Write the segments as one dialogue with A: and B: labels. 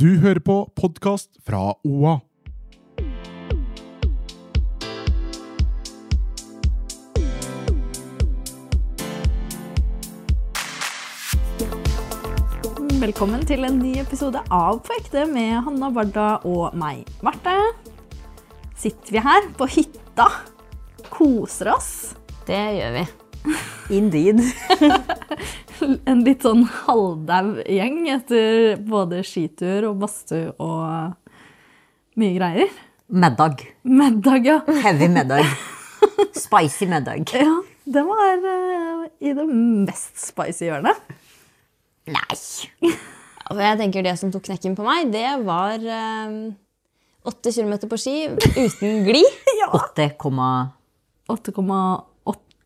A: Du hører på podkast fra OA.
B: Velkommen til en ny episode av På ekte med Hanna Barda og meg, Marte. Sitter vi her på hytta, koser oss.
C: Det gjør vi. Indeed.
B: En litt sånn halvdau gjeng etter både skitur og badstue og mye greier.
C: Middag.
B: Middag, ja.
C: Heavy middag. Spicy middag.
B: ja det var eh, i det mest spicy hjørnet.
C: Nei.
D: Og jeg tenker det som tok knekken på meg, det var eh, 8 km på ski uten gli.
C: 8,8.
B: 8,8,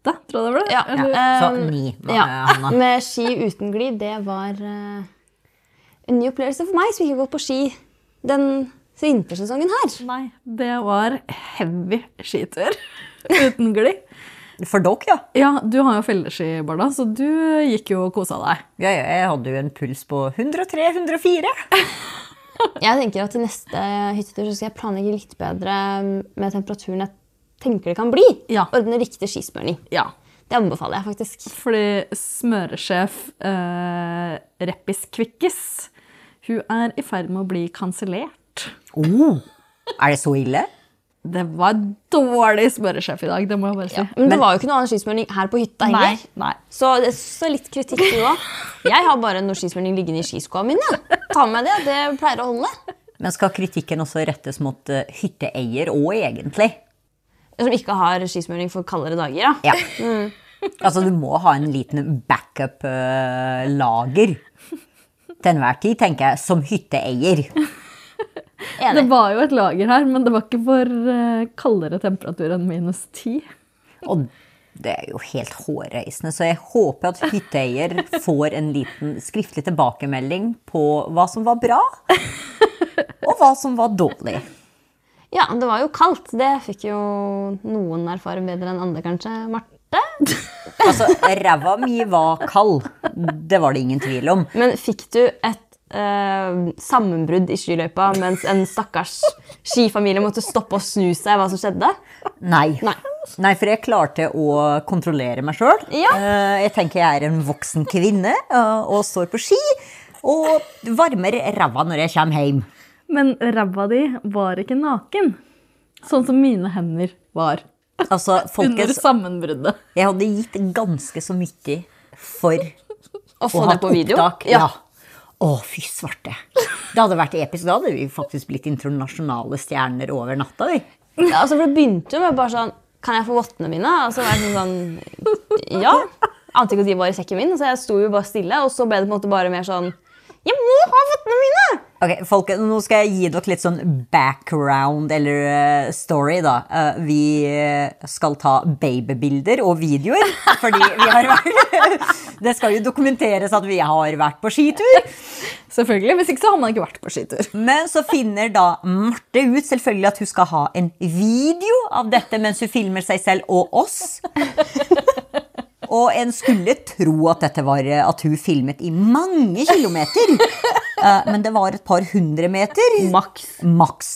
B: tror jeg det ble.
D: Ja.
B: Eller-
C: Så
D: Um,
C: 9,
D: ja.
C: Hanna.
D: Med ski uten gli, det var eh, en ny opplevelse for meg som ikke har gått på ski den vintersesongen her.
B: Nei, det var heavy skitur uten glid.
C: For dere, ja.
B: Ja, du har jo felleski, Barda, så du gikk jo og kosa deg.
C: ja. ja, Jeg hadde jo en puls på 103-104.
D: Jeg tenker at til neste hyttetur så skal jeg planlegge litt bedre med temperaturen jeg tenker det kan bli.
B: Ja.
D: Ordne riktig skismøring.
B: Ja.
D: Det anbefaler jeg faktisk.
B: Fordi smøresjef eh, Reppis Kvikkis, hun er i ferd med å bli kansellert.
C: Oh, er det så ille?
B: Det var dårlig smøresjef i dag, det må jeg bare si.
D: Men, det var jo ikke noe annen skismøring her på hytta
B: Nei,
D: heller.
B: nei.
D: Så, det- så litt kritikk du òg. Jeg har bare noe skismøring liggende i skiskoa mine. jeg. Ta med det, det pleier å holde.
C: Men skal kritikken også rettes mot eh, hytteeier òg, egentlig?
D: Som ikke har skismøring for kaldere dager. Da.
C: Ja. Altså, du må ha en liten backup-lager. Til enhver tid, tenker jeg, som hytteeier.
B: Det
D: Enig.
B: var jo et lager her, men det var ikke for eh, kaldere temperatur enn minus ti.
C: Og det er jo helt hårreisende, så jeg håper at hytteeier får en liten skriftlig tilbakemelding på hva som var bra, og hva som var dårlig.
D: Ja, det var jo kaldt. Det fikk jo noen erfare bedre enn andre, kanskje. Marte?
C: Altså, ræva mi var kald. Det var det ingen tvil om.
D: Men fikk du et eh, sammenbrudd i skiløypa mens en stakkars skifamilie måtte stoppe og snu seg hva som skjedde?
C: Nei.
D: Nei.
C: Nei, for jeg klarte å kontrollere meg sjøl.
D: Ja.
C: Jeg tenker jeg er en voksen kvinne eh, og står på ski. Og varmer ræva når jeg kommer hjem.
B: Men ræva di var ikke naken, sånn som mine hender var
C: Altså,
B: under
C: folkens,
B: sammenbruddet.
C: jeg hadde gitt ganske så mye for
D: Å
C: Og
D: få det
C: hatt
D: på video?
C: Opptak. Ja.
D: Ja.
C: Å, fy svarte. Det hadde vært episk. Da hadde vi faktisk blitt internasjonale stjerner over natta. vi.
D: Ja, altså, for det begynte jo med bare sånn Kan jeg få vottene mine? Og så var jeg sånn, sånn Ja. Ante ikke at de var i sekken min, så jeg sto jo bare stille. Og så ble det på en måte bare mer sånn Jeg må ha vottene mine!
C: Ok, folk, Nå skal jeg gi dere litt sånn background eller eh, story, da. Eh, vi eh, skal ta babybilder og videoer, fordi vi har vært Det skal jo dokumenteres at vi har vært på skitur.
B: Selvfølgelig, hvis ikke så har man ikke vært på skitur.
C: Men så finner da Marte ut selvfølgelig at hun skal ha en video av dette mens hun filmer seg selv og oss. Og en skulle tro at dette var eh, at hun filmet i mange kilometer. Eh, Men det var et par hundre meter.
D: Maks.
C: Maks.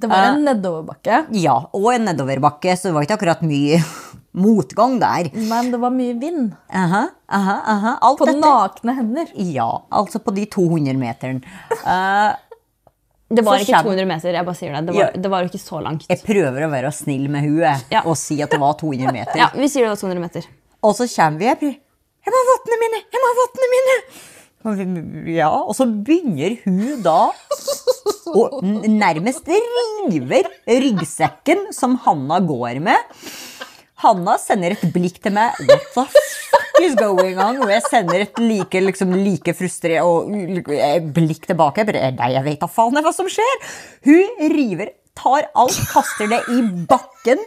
B: Det var en nedoverbakke,
C: Ja, og en nedoverbakke, så det var ikke akkurat mye motgang der.
B: men det var mye vind.
C: Aha, aha, aha. Alt
B: På
C: dette-
B: nakne hender.
C: Ja, altså på de 200 meteren.
D: Det var
C: Så
D: ikke
C: kjem-
D: 200 meter. jeg bare sier Det Det var,
C: Ja.
D: det var jo ikke så langt.
C: Jeg prøver å være snill med hun jeg,
D: Ja.
C: og si at det var 200 meter.
D: Ja, Vi sier det var 200 meter.
C: Og så kommer vi og jeg blir Jeg må ha vottene mine! Jeg må ha vottene mine! Og vi- Ja, og så begynner hun da å n- nærmest river ryggsekken som Hanna går med. Hanna sender et blikk til meg. What the fuck is going on? Og jeg sender et like, liksom, like frustrert og u- eh, blikk tilbake. Jeg bare, Nei, jeg vet da faen hva som skjer. Hun river, tar alt, kaster det i bakken.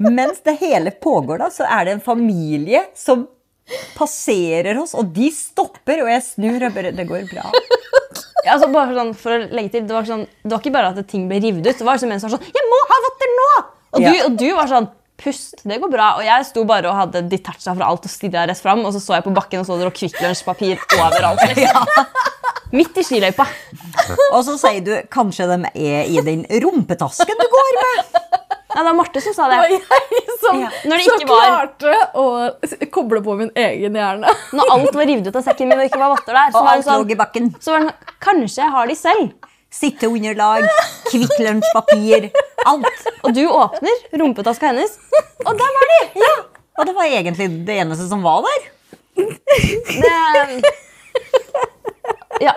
C: Mens det hele pågår, da, så er det en familie som passerer oss, og de stopper, og jeg snur og bare Det går bra.
D: Ja, altså bare sånn, for å legge til, det var, sånn, det var ikke bare at ting ble revet ut. Det var liksom en som var sånn Jeg må ha votter nå! Og du,
C: Ja.
D: og du var sånn Pust, det går bra. Og jeg sto bare og hadde detacha fra alt og stirra rett fram. Og så så jeg på bakken og så dere kvikklunsjpapir overalt. Liksom. Midt i skiløypa.
C: Og så sier du kanskje de er i den rumpetasken du går med.
D: Nei, det var Marte som sa det.
B: var jeg som,
C: Ja.
D: Når det
B: som
D: ikke var-
B: klarte å s- koble på min egen hjerne.
D: Når alt var revet ut av sekken min og ikke var votter der, så
C: Og
D: var det
C: alt
D: sånn,
C: lå i bakken.
D: så var det sånn Kanskje jeg har de selv.
C: Sitteunderlag, Kvikk Lunsj-papir, alt.
D: Og du åpner rumpetaska hennes, og der var de!
C: Og det var egentlig det eneste som var der.
D: Det, Ehm. ja.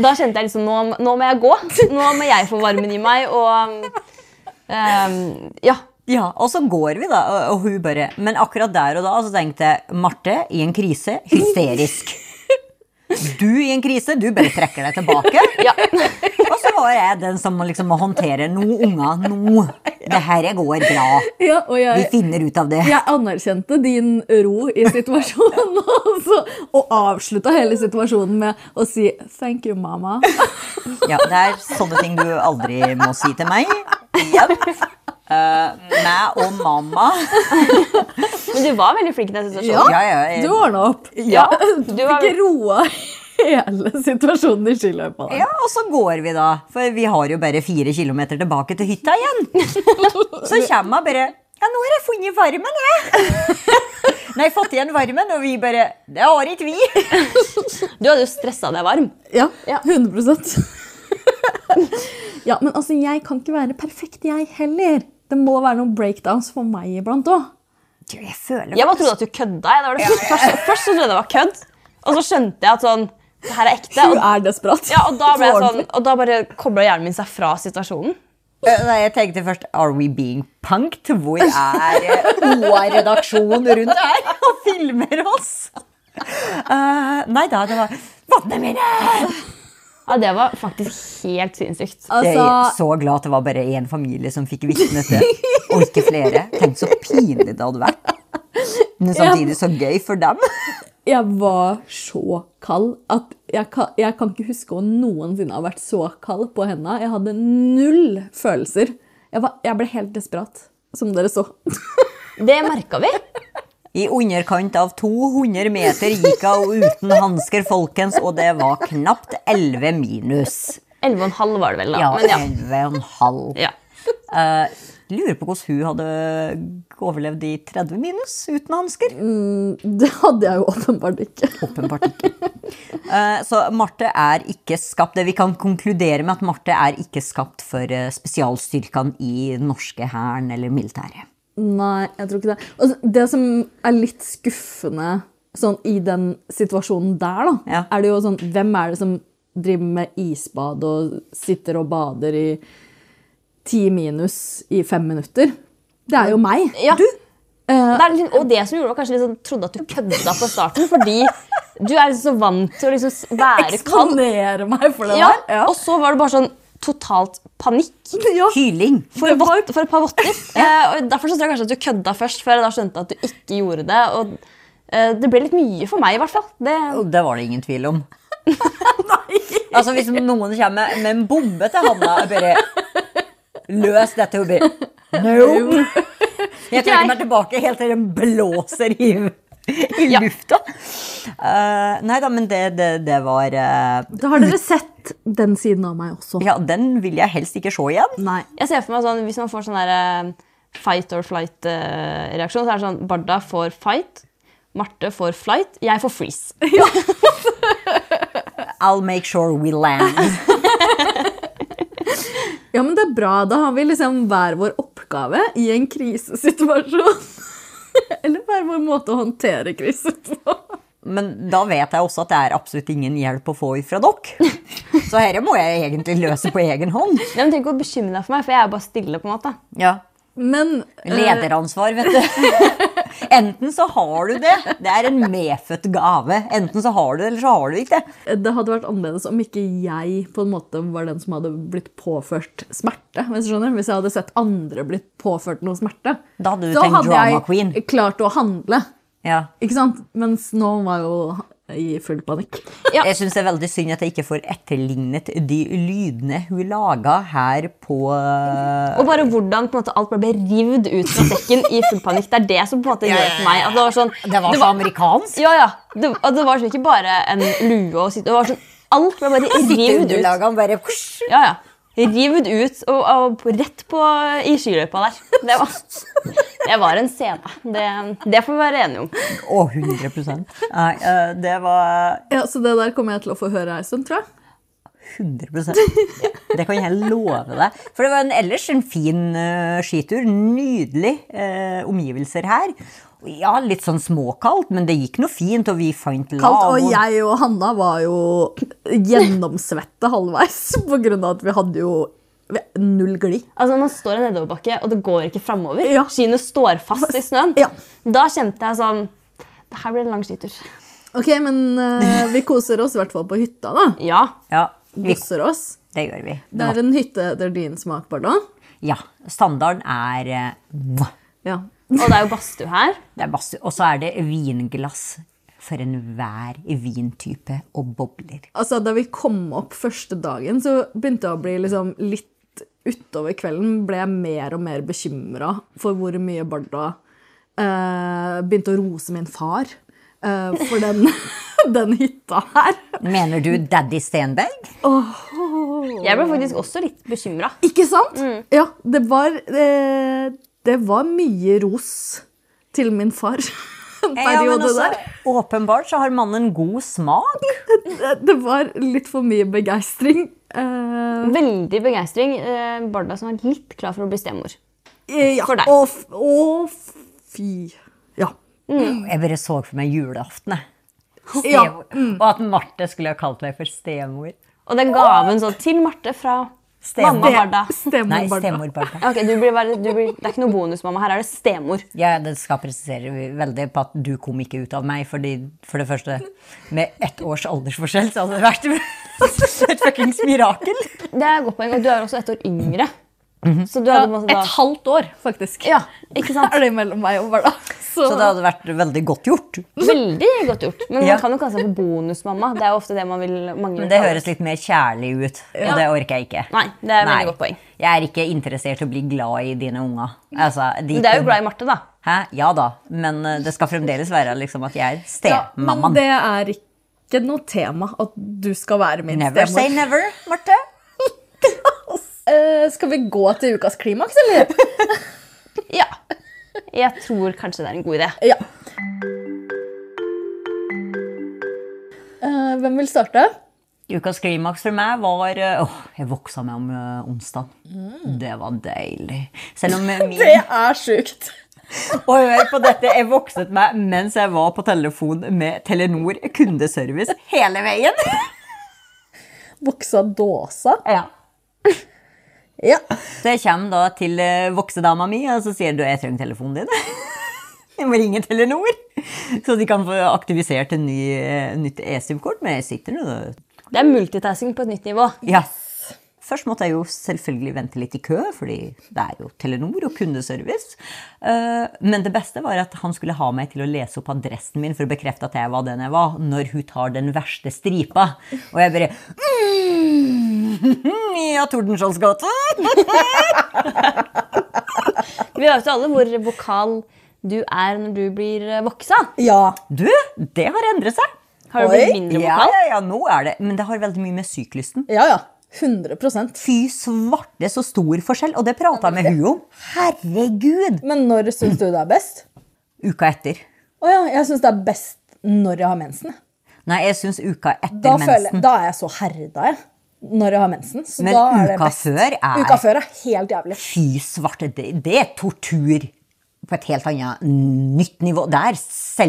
D: Da kjente jeg liksom nå, nå må jeg gå. Nå må jeg få varmen i meg, og ehm, Ja.
C: Ja, Og så går vi, da, og- og hun bare Men akkurat der og da så tenkte jeg Marte i en krise, hysterisk. Du i en krise, du bare trekker deg tilbake.
D: ja.
C: Og så var jeg den som liksom må håndtere noe unger nå. Det her går bra.
B: Ja, og
C: Vi
B: jeg,
C: finner ut av det.
B: jeg anerkjente din ro i situasjonen, og, så, og avslutta hele situasjonen med å si 'thank you, mama'.
C: Ja, det er sånne ting du aldri må si til meg. Yep. Eh, meg og mamma.
D: Men du var veldig flink i den situasjonen.
C: Ja, ja, jeg-
B: Du ordna opp.
D: Ja,
B: Du
D: du var-
B: fikk roa hele situasjonen i skiløypa. der.
C: Ja, og så går vi, da. For vi har jo bare fire kilometer tilbake til hytta igjen. Så kommer hun bare Ja, nå har jeg funnet varmen, jeg. Nei, fått igjen varmen, og vi bare Det har ikke vi.
D: Du hadde jo stressa deg varm.
B: Ja,
D: Ja.
B: 100 Ja, men altså, jeg kan ikke være perfekt, jeg heller. Det må være noen breakdowns for meg iblant òg.
C: Du, jeg føler
D: Jeg bare trodde at du kødda. Jeg. Det var det første, først, først så trodde jeg det var kødd, og så skjønte jeg at sånn det her er ekte.
B: Hun
D: Og,
B: er desperat.
D: ja, og, da ble jeg sånn,
B: Ordentlig.
D: og da bare kobla hjernen min seg fra situasjonen.
C: Eh, Nei, jeg tenkte først Are we being punked? Hvor er eh, OA-redaksjonen rundt her og filmer oss? Eh, nei da, det var Vannene mine!
D: Ja, Det var faktisk helt sinnssykt.
C: Jeg er
B: Altså,
C: så glad at det var bare én familie som fikk vitne til det, og ikke flere. Tenk så pinlig det hadde vært. Men samtidig så gøy for dem.
B: jeg var så kald at jeg kan, jeg kan ikke huske å noensinne ha vært så kald på henda. Jeg hadde null følelser. Jeg, var, jeg ble helt desperat, som dere så.
D: Det merka vi.
C: I underkant av 200 meter gikk hun uten hansker, folkens, og det var knapt 11 minus.
D: 11,5 var det vel, da.
C: Ja,
D: Men ja.
C: 11,5.
D: ja.
C: Eh, lurer på hvordan hun hadde overlevd i 30 minus uten hansker.
B: Det hadde jeg jo åpenbart ikke.
C: Åpenbart ikke. Eh, så Marte er ikke skapt det Vi kan konkludere med at Marte er ikke skapt for eh, spesialstyrkene i den norske hæren eller militæret.
B: Nei, jeg tror ikke det. Og det som er litt skuffende sånn, i den situasjonen der, da,
C: Ja.
B: er det jo sånn Hvem er det som driver med isbad og sitter og bader i ti minus i fem minutter? Det er jo meg.
D: Ja. det er litt, og det som gjorde var kanskje litt sånn, trodde at du kødda på starten, fordi du er liksom så vant til å liksom s- være kald.
B: Eksponerer meg for det
D: Ja,
B: der. Ja.
D: og så var det bare sånn totalt panikk.
B: Ja.
C: Hyling!
D: For, vott, for et par votter. Eh, og derfor så tror jeg kanskje at du kødda først, før jeg da skjønte at du ikke gjorde det. Og eh, det ble litt mye for meg, i hvert fall. Det,
C: Og Det var det ingen tvil om. altså Hvis noen kommer med en bombe til Hanna og bare Løs dette, hun bare No! Jeg trekker meg tilbake helt til den blåser i, i
D: Ja.
C: lufta. Eh, nei da, men det, det, det var eh,
B: Da har dere sett den siden av meg også.
C: Ja, den vil jeg helst ikke se igjen.
B: Nei.
D: jeg ser for meg sånn, Hvis man får sånn der, eh, fight or flight-reaksjon, så er det sånn Barda får fight, Marte får flight, jeg får freeze.
C: I'll make sure we land.
B: Ja, men det er bra. Da har vi liksom hver vår oppgave i en krisesituasjon. Eller hver vår måte å håndtere kriser på.
C: Men da vet jeg også at det er absolutt ingen hjelp å få fra dere. Så dette må jeg egentlig løse på egen hånd.
D: Nei, men Tenk å bekymre deg for meg, for jeg er bare stille. på en måte.
C: Ja.
B: Men eh,
C: Lederansvar, vet du. Enten så har du det. Det er en medfødt gave. Enten så har du det, eller så har du det ikke.
B: det hadde vært annerledes om ikke jeg på en måte var den som hadde blitt påført smerte. Hvis, du skjønner. hvis jeg hadde sett andre blitt påført noe smerte,
C: Da hadde du
B: så
C: tenkt
B: hadde
C: drama
B: jeg
C: queen.
B: klart å handle.
C: Ja.
B: Ikke sant? Mens nå var jeg jo i full panikk.
D: Ja.
C: Jeg syns det er veldig synd at jeg ikke får etterlignet de lydene hun laga her på eh,
D: Og bare hvordan på en måte, alt bare ble rivd ut fra sekken i full panikk. Det er det som på en måte gjør det for meg. At det var sånn,
C: Det var så amerikansk.
D: ja, ja, det, at det var sånn ikke bare en lue å sitte Det var sånn Alt ble bare rivd ut.
C: Sitteunderlagene bare husj.
D: Ja, ja. Rivd ut og, og rett på i skiløypa der. Det var, det var en scene. Det, det får vi være enige om.
C: Å, 100 Nei, eh, det var
B: Ja, Så det der kommer jeg til å få høre ei stund, tror jeg.
C: 100 ja, Det kan jeg love deg. For det var en, ellers en fin eh, skitur. Nydelig eh, omgivelser her. Og Ja, litt sånn småkaldt, men det gikk noe fint, og vi fant
B: Kaldt,
C: lav.
B: og jeg og Hanna var jo gjennomsvette halvveis på grunn av at vi hadde jo vi- null gli.
D: Altså, når man står i nedoverbakke, og det går ikke framover,
B: Ja.
D: skiene står fast i snøen,
B: Ja.
D: da kjente jeg sånn Det her blir en lang skitur.
B: Ok, men eh, vi koser oss i hvert fall på hytta, da.
D: Ja.
C: Ja, vi,
B: Koser oss.
C: det gjør vi.
B: Det er en hytte etter din smak, Barda.
C: Ja, standarden er eh, mwah.
B: Ja.
D: Og det er jo badstue her.
C: Det er masse. Og så er det vinglass for enhver vintype og bobler.
B: Altså, da vi kom opp første dagen, så begynte jeg å bli liksom litt utover kvelden ble jeg mer og mer bekymra for hvor mye Barda eh, begynte å rose min far eh, for den, den hytta her.
C: Mener du Daddy Stenberg?
D: Jeg ble faktisk også litt bekymra.
B: Ikke sant? Ja, det var, eh, det var mye ros til min far. En periode
D: altså-
B: der.
C: åpenbart så har mannen god smak.
B: Det, Eh, det var litt for mye begeistring. Eh,
D: Veldig begeistring. Eh, Barda som er litt klar for å bli stemor.
B: ja,
D: For deg.
B: Å, f- å, fy. Ja.
C: Jeg bare så for meg julaften. jeg.
B: Ja.
C: Stemor.
D: mm.
C: Og at Marte skulle ha kalt meg for stemor.
D: Og den gaven sånn til Marte fra
C: Stemor.
D: mamma
B: Eh,
D: Barda.
B: Stemmer,
C: Nei,
B: Barda.
C: stemor Barda.
D: Ok, du blir, bare- du blir, Det er ikke noe bonus, mamma. Her er det stemor.
C: Ja, det skal presisere veldig på at du kom ikke ut av meg, fordi for det første, med ett års aldersforskjell, så hadde det vært et fuckings mirakel.
D: Det er et godt poeng, og Du er også ett år yngre.
C: Mhm.
D: Så du hadde på en måte da...
B: halvt år, faktisk.
D: Ja, ikke sant?
B: Er det mellom meg og Barda? Så,
C: Så det hadde vært veldig godt gjort.
D: Veldig godt gjort. Men
C: Ja.
D: man kan jo kalle seg for bonusmamma. Det er jo ofte det man vil mange
C: Men det høres litt mer kjærlig ut, og det orker jeg ikke.
D: Nei, det er et veldig godt poeng.
C: Jeg er ikke interessert i å bli glad i dine unger. Altså, de
D: Men det er jo
C: kan-
D: glad i Marte, da.
C: Hæ? Ja da, men eh, det skal fremdeles være liksom at jeg er
B: ja, men
C: stemammaen.
B: det er ikke noe tema at du skal være min
C: Never say
B: stemor.
C: never, Marte.
B: Eh, skal vi gå til ukas klimaks, eller?
D: Ja. Jeg tror kanskje det er en god idé.
B: ja. Eh, hvem vil starte?
C: Ukas klimaks for meg var eh, Åh, jeg voksa meg om eh, onsdag. Det var deilig. Selv om eh, min
B: Mm. Det er sjukt.
C: Og hør på dette, jeg vokset meg mens jeg var på telefon med Telenor kundeservice hele veien.
B: Buksa dåsa.
C: Ja.
B: Ja.
C: Så jeg kommer da til eh, voksedama mi, og så sier du jeg trenger telefonen din. Jeg må ringe Telenor, så de kan få aktivisert en ny, eh, nytt eSIM-kort. Men jeg sitter nå da.
D: Det er multitasking på et nytt nivå.
C: Ja. Først måtte jeg jo selvfølgelig vente litt i kø, fordi det er jo Telenor og kundeservice. Eh, Men det beste var at han skulle ha meg til å lese opp adressen min for å bekrefte at jeg var den jeg var, når hun tar den verste stripa. Og jeg bare mm, Ja, Tordenskiolds gate.
D: Vi vet jo alle hvor vokal du er når du blir eh, voksa.
B: ja.
C: Du, det har endret seg.
D: Har du
B: Oi.
D: blitt mindre
C: Ja,
D: vokal?
C: ja, ja, nå er det. Men det har veldig mye med syklysten.
B: Ja, ja. 100
C: Fy svarte, så stor forskjell. Og det prata jeg med hun om. Herregud!
B: Men når syns du det er best?
C: Uka etter.
B: Å ja, jeg syns det er best når jeg har mensen. jeg.
C: Nei, jeg syns uka etter
B: da, føler, jeg-
C: mensen.
B: da er jeg så herda, jeg. Når jeg har mensen. Så
C: Men
B: da er det
C: uka
B: best.
C: før er-
B: Uka før er helt jævlig.
C: Fy svarte, det, det er tortur på et helt annet nytt nivå. Det er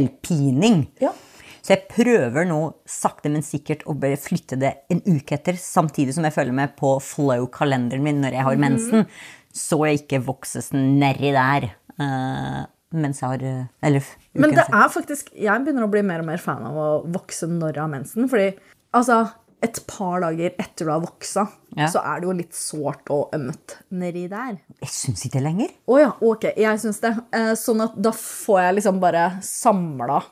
C: selvpining.
B: Ja.
C: Så jeg prøver nå sakte, men sikkert å bare flytte det en uke etter, samtidig som jeg følger med på flow-kalenderen min når
B: Mhm.
C: jeg har mensen, så jeg ikke vokses nedi der eh, mens jeg har eh, Eller f- uken
B: Men det
C: etter.
B: er faktisk Jeg begynner å bli mer og mer fan av å vokse når jeg har mensen. Fordi altså et par dager etter du har voksa,
C: Ja.
B: så er det jo litt sårt og ømt nedi der.
C: Jeg syns ikke lenger.
B: Å ja, ok, jeg syns det. Eh, sånn at da får jeg liksom bare samla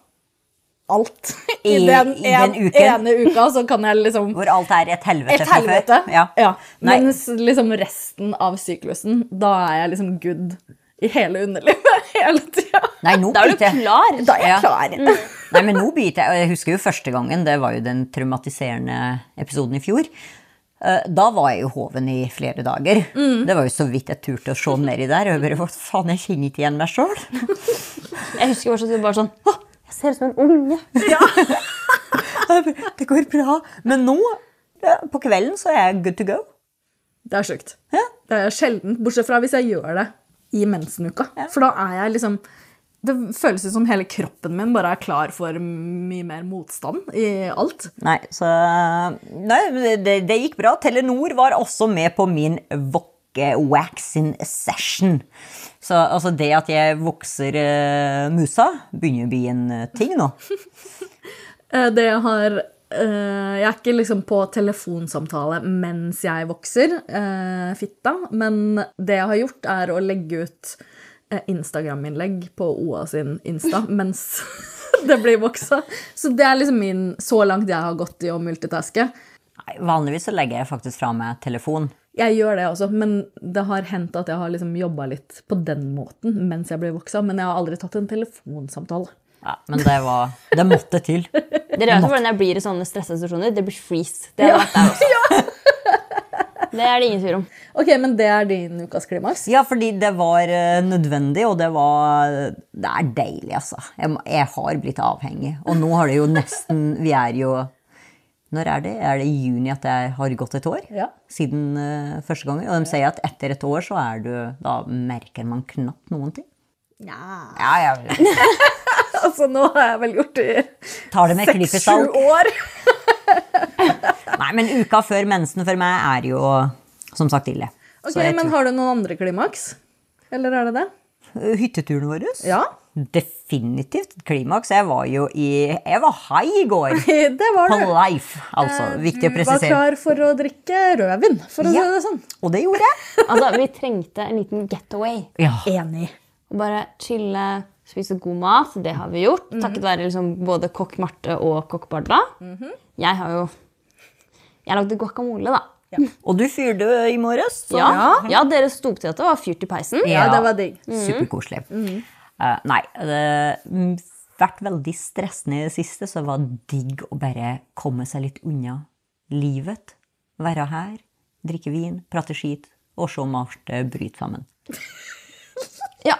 B: alt. I,
C: I-
B: den,
C: i den
B: en-
C: uken.
B: ene uka, så kan jeg liksom
C: Hvor alt er et helvete
B: Et
C: fra før.
B: helvete.
C: Ja. Nei,
B: Mens liksom resten av syklusen, da er jeg liksom good i hele underlivet. hele tida.
C: Nei, nå
D: Da er du
C: biter jeg.
D: klar.
B: Da er jeg
C: Ja. Mm.
B: klar.
C: Nei, men nå biter jeg. Og jeg husker jo første gangen, det var jo den traumatiserende episoden i fjor. Eh, Da var jeg jo hoven i flere dager. Det var jo så vidt jeg turte å se nedi der. Og jeg bare, hva faen, jeg kjenner ikke igjen meg sjøl.
D: Jeg husker fortsatt bare sånn Å, jeg ser ut som en unge.
C: Det går bra. Men nå, ja, på kvelden, så er jeg good to go.
B: Det er sjukt.
C: Ja.
B: Det er sjelden, bortsett fra hvis jeg gjør det i mensenuka. For da er jeg liksom Det føles ut som hele kroppen min bare er klar for mye mer motstand i alt.
C: Nei, så Nei, men det, det gikk bra. Telenor var også med på min vokke waxing session. Så altså det at jeg vokser eh, musa, begynner å bli en eh, ting nå.
B: Eh, Det har eh, Jeg er ikke liksom på telefonsamtale mens jeg vokser, eh, fitta, men det jeg har gjort, er å legge ut eh, Instagram-innlegg på OA sin Insta mens det blir voksa. Så det er liksom min Så langt jeg har gått i å multitaske.
C: Nei, vanligvis så legger jeg faktisk fra meg telefon.
B: Jeg gjør det også, men det har hendt at jeg har liksom jobba litt på den måten mens jeg ble voksa, men jeg har aldri tatt en telefonsamtale.
C: Ja, men det var Det måtte til.
D: Dere vet jo hvordan jeg blir i sånne stressituasjoner. Det blir freeze. Det, har vært der også. det er det ingen tvil om.
B: Ok, men det er din ukas klimaks.
C: Ja, fordi det var eh, nødvendig, og det var Det er deilig, altså. Jeg, må- jeg har blitt avhengig. Og nå har det jo nesten Vi er jo Når er det? Er det i juni at jeg har gått et år?
B: Ja.
C: Siden eh, første gangen. Og de sier at etter et år så er du Da merker man knapt noen ting.
B: Nja
C: Ja, ja.
B: Altså, nå har jeg vel gjort det
C: Tar det med
B: i
C: klipp i
B: seks-sju
C: salt.
B: år.
C: Nei, men uka før mensen for meg er jo som sagt ille. Så
B: Ok,
C: jeg
B: Men
C: tror-
B: har du noen andre klimaks? Eller er det det?
C: Eh, Hytteturen vår?
B: Ja,
C: Definitivt klimaks. Jeg var jo i Jeg var high i går.
B: det var
C: På
B: det.
C: life, altså.
B: Eh,
C: Viktig å
B: Du var
C: presisere.
B: klar for å drikke rødvin, for å
C: Ja.
B: si det sånn.
C: Og det gjorde jeg.
D: Altså, Vi trengte en liten getaway.
C: Ja.
B: Enig.
D: Og Bare chille, spise god mat. Det har vi gjort.
B: Mhm.
D: Takket være liksom både kokk Marte og kokk Barda.
B: Mhm.
D: Jeg har jo Jeg lagde guacamole, da.
C: Og du fyrte i morges. så-
D: Ja, ja dere sto opp til at det var fyrt i peisen.
B: Ja, det Mhm. var digg.
C: Superkoselig. Eh, nei, det mm, vært veldig stressende i det siste, så det var digg å bare komme seg litt unna livet. Være her, drikke vin, prate skit, og se Marte bryte sammen.
D: Ja.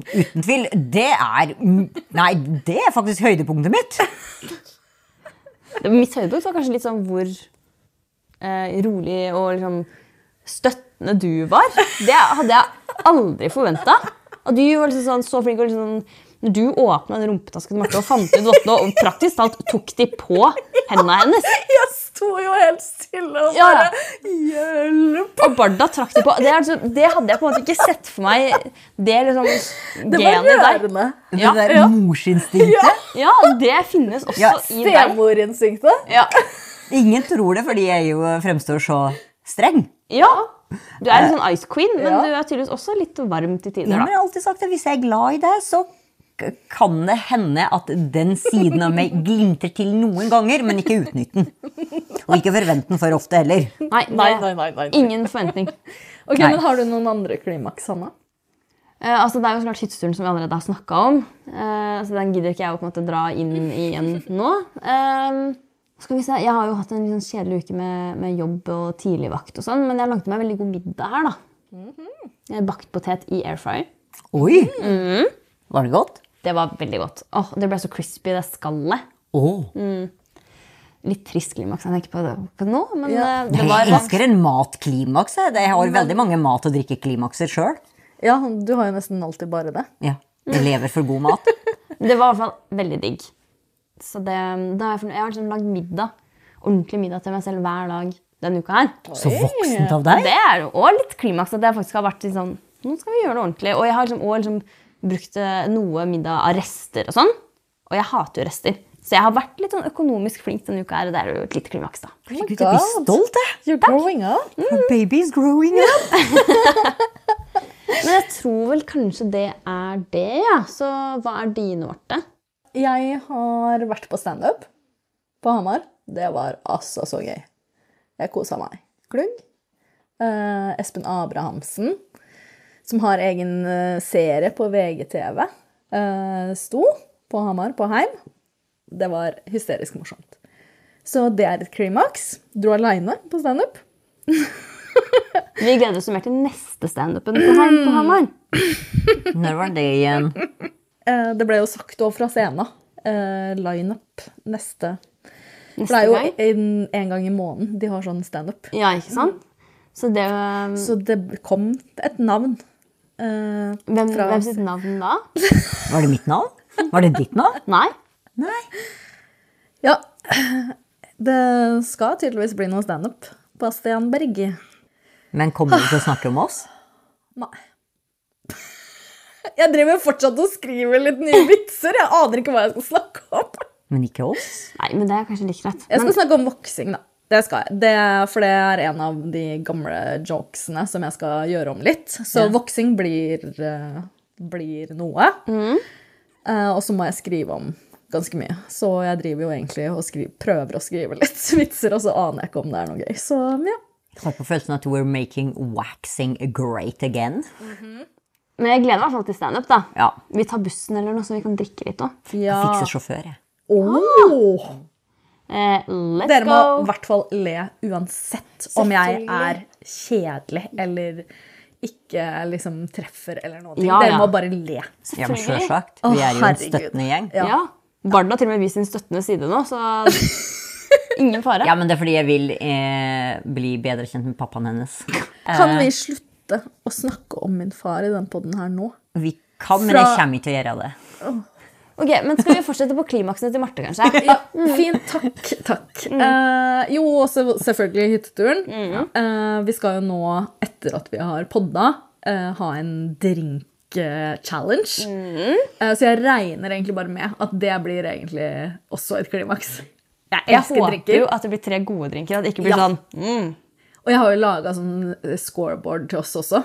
C: Uten tvil, det er mm, Nei, det er faktisk høydepunktet mitt!
D: Mitt høydepunkt var kanskje litt sånn hvor eh, rolig og liksom støttende du var. Det hadde jeg aldri forventa. Og du var liksom sånn, så flink og liksom sånn når du åpna den rumpetasken til Marte og fant ut vottene og praktisk talt tok de på hendene hennes
B: Jeg sto jo helt stille og
D: Ja.
B: bare Hjelp!
D: Og Barda trakk de på. Det, er, liksom- det hadde jeg på en måte ikke sett for meg. Det liksom
B: Det var
D: genet der.
B: rørende.
D: Ja,
C: det der
B: ja.
C: morsinstinktet.
D: Ja, det finnes også
C: Ja,
D: i deg.
B: Stemorinstinktet.
D: Ja.
C: Ingen tror det, fordi jeg jo fremstår så streng.
D: ja. Du er en sånn ice queen, men
B: Ja.
D: du er tydeligvis også litt varm til
C: Ja,
D: tider.
C: men
D: da.
C: jeg har alltid sagt at hvis jeg er glad i deg, så k- kan det hende at den siden av meg glimter til noen ganger, men ikke utnytt den. Og ikke forvent den for ofte heller.
D: Nei,
B: Nei,
D: det-
B: nei, nei. nei.
D: Ingen forventning.
B: Ok,
C: Nei.
B: men Har du noen andre klimaks, Hanna?
D: Eh, altså, det er jo så klart hytteturen som vi allerede har snakka om. Eh, så den gidder ikke jeg å på en måte dra inn igjen nå. Eh, skal vi se, Jeg har jo hatt en litt sånn kjedelig uke med, med jobb og tidligvakt, og sånn, men jeg lagde meg en veldig god middag her. da. Eh, Bakt potet i air fryer.
C: Oi! Var det godt?
D: Det var veldig godt. Åh, Det ble så crispy, det skallet.
C: Å,
D: Litt trist klimaks. Jeg tenker på det på nå, men
B: Ja.
D: eh, det
C: jeg
D: var
C: elsker en matklimaks. jeg. Jeg har veldig mange mat- og drikkeklimakser sjøl.
B: Ja, Du har jo nesten alltid bare det.
C: Ja. Jeg lever for god mat.
D: Det var i hvert fall veldig digg. Så det, da har jeg, fornøyd- jeg har liksom lagd middag, ordentlig middag til meg selv hver dag denne uka her.
C: Så voksent av deg.
D: Det er jo også litt klimaks at jeg faktisk har vært litt sånn Nå skal vi gjøre det ordentlig. Og jeg har liksom, også liksom brukt eh, noe middag av rester og sånn. Og jeg hater jo rester. Så jeg har vært litt sånn økonomisk flink denne uka her, og det er jo et lite klimaks, da.
C: Herregud, jeg blir
B: Oh God.
C: stolt, jeg.
B: You're growing up.
C: For Baby is growing up.
D: Men jeg tror vel kanskje det er det, ja. Så hva er dine, Marte?
B: Jeg har vært på standup på Hamar. Det var altså så gøy. Jeg kosa meg. Glugg. Eh, Espen Abrahamsen. som har egen eh, serie på VGTV, eh, sto på Hamar, på Heim. Det var hysterisk morsomt. Så det er et klimaks. Dro aleine på standup.
D: Vi gleder oss jo mer til neste standupen på Heim på Hamar.
C: Når var det igjen?
B: Eh, Det ble jo sagt òg fra scenen. eh, Line-up neste For det
D: Neste
B: er jo
D: gang.
B: en, en gang i måneden de har sånn standup.
D: Ja, ikke sant? Så det um,
B: Så det kom et navn. eh,
D: hvem,
B: fra-
D: hvem sitt navn da?
C: Var det mitt navn? Var det ditt navn?
D: Nei?
C: Nei.
B: Ja. Det skal tydeligvis bli noe standup. Bastian Berg.
C: Men kommer du til å snakke om oss?
B: Nei. Jeg driver fortsatt og skriver litt nye vitser. Jeg aner ikke hva jeg skal snakke om.
C: Men ikke oss?
D: Nei, men det er kanskje like greit.
B: Jeg skal
D: Men
B: snakke om voksing, da. Det skal jeg. Det, for det er en av de gamle jokesene som jeg skal gjøre om litt. Så voksing blir, eh, blir noe.
D: Mm.
B: Eh, og så må jeg skrive om ganske mye. Så jeg driver jo egentlig og skri- prøver å skrive litt vitser, og så aner jeg ikke om det er noe gøy. Så ja.
C: Jeg har på følelsen at we're making waxing great again.
D: men jeg gleder meg i hvert fall til standup. da.
C: Ja.
D: Vi tar bussen eller noe, så vi kan drikke litt òg.
B: ja.
C: Jeg fikser sjåfør, jeg.
B: Åh!
D: Eh, Ah! let's
B: Dere må i
D: go!
B: hvert fall le uansett om jeg er kjedelig eller ikke liksom treffer eller noe.
D: Ja,
B: Dere
D: ja.
B: må bare le.
C: Ja, men
D: Selvfølgelig.
C: selvsagt. Vi
B: Å,
C: er jo en
B: herregud.
C: støttende gjeng.
B: Ja.
D: Ja. Barden har til og med vist sin støttende side nå, så ingen fare.
C: Ja, men det er fordi jeg vil eh, bli bedre kjent med pappaen hennes.
B: Kan vi slutte å snakke om min far i den podden her nå?
C: Vi kan, men
B: Fra-
C: jeg kommer ikke til å gjøre det.
D: Ok, men Skal vi fortsette på klimaksene til Marte, kanskje?
B: Ja, fint. Takk. takk. Eh, jo, også selvfølgelig hytteturen. Eh, vi skal jo nå, etter at vi har podda, eh, ha en drink-challenge. så jeg regner egentlig bare med at det blir egentlig også et klimaks. Jeg
D: Jeg
B: elsker
D: håper
B: drinker.
D: jo at det blir tre gode drinker. At det ikke blir
B: Ja.
D: sånn mm.
B: Og jeg har jo laga sånn scoreboard til oss også,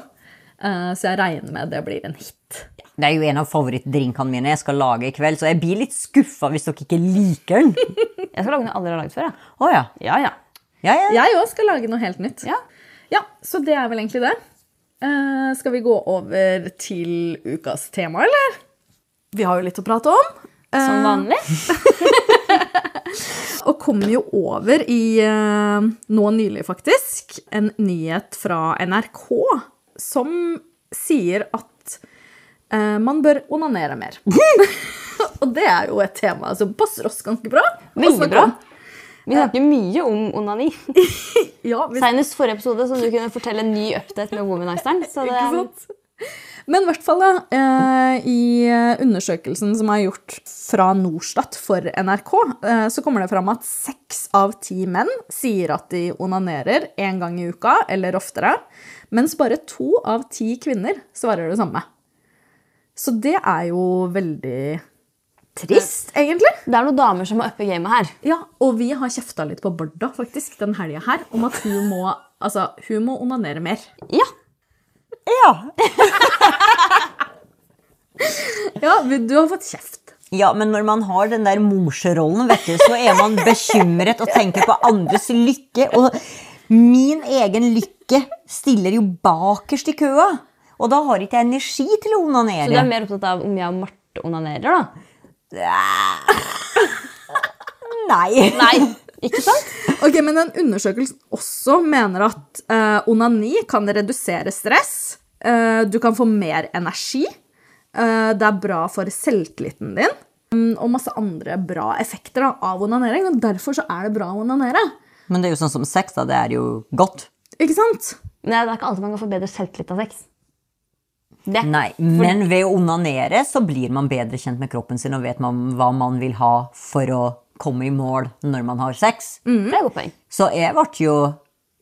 B: Eh, så jeg regner med det blir en hit.
C: Det er jo en av favorittdrinkene mine jeg skal lage i kveld, så jeg blir litt skuffa hvis dere ikke liker den.
D: Jeg skal lage noe jeg aldri har lagd før. jeg.
C: Å ja.
D: Ja, ja.
C: Ja, ja.
B: Jeg òg skal lage noe helt nytt.
D: Ja.
B: Ja, så det er vel egentlig det. Eh, skal vi gå over til ukas tema, eller? Vi har jo litt å prate om. Eh,
D: Som vanlig.
B: Og kom jo over i eh, nå nylig, faktisk, en nyhet fra NRK som sier at eh, man bør onanere mer. og det er jo et tema som passer oss ganske bra. å
D: Veldig
B: snakke
D: bra.
B: om.
D: Vi snakker mye om onani.
B: Ja, vi
D: Senest forrige episode som du kunne fortelle en ny update med Womanizeren. Så det,
B: Ikke sant? Men i hvert fall, da, eh, i eh, undersøkelsen som er gjort fra Norstat for NRK, eh, så kommer det fram at seks av ti menn sier at de onanerer én gang i uka eller oftere, mens bare to av ti kvinner svarer det samme. Så det er jo veldig trist, egentlig.
D: det er noen damer som har uppe gamet her.
B: Ja, og vi har kjefta litt på Barda faktisk, den helga her om at hun må, altså, hun må onanere mer.
D: Ja.
C: Ja.
B: Ja, du har fått kjeft.
C: ja, men når man har den der morsrollen, vet du, så er man bekymret og tenker på andres lykke. Og min egen lykke stiller jo bakerst i køa. Og da har ikke jeg energi til å
D: Så du
C: onanere.
D: er mer opptatt av om jeg og Marte onanerer, da?
C: Nei.
D: Nei. Ikke sant?
B: Ok, Men den undersøkelsen også mener at eh, onani kan redusere stress. eh, du kan få mer energi. eh, det er bra for selvtilliten din. mm, Og masse andre bra effekter da, av onanering. Og derfor så er det bra å onanere.
C: Men det er jo sånn som sex, da. Det er jo godt.
B: Ikke sant?
D: Nei, det er ikke alltid man kan få bedre selvtillit av sex. Det.
C: Nei, men ved å onanere så blir man bedre kjent med kroppen sin og vet man hva man vil ha for å komme i mål når man har sex.
D: Mm, Det er et godt poeng.
C: Så jeg ble jo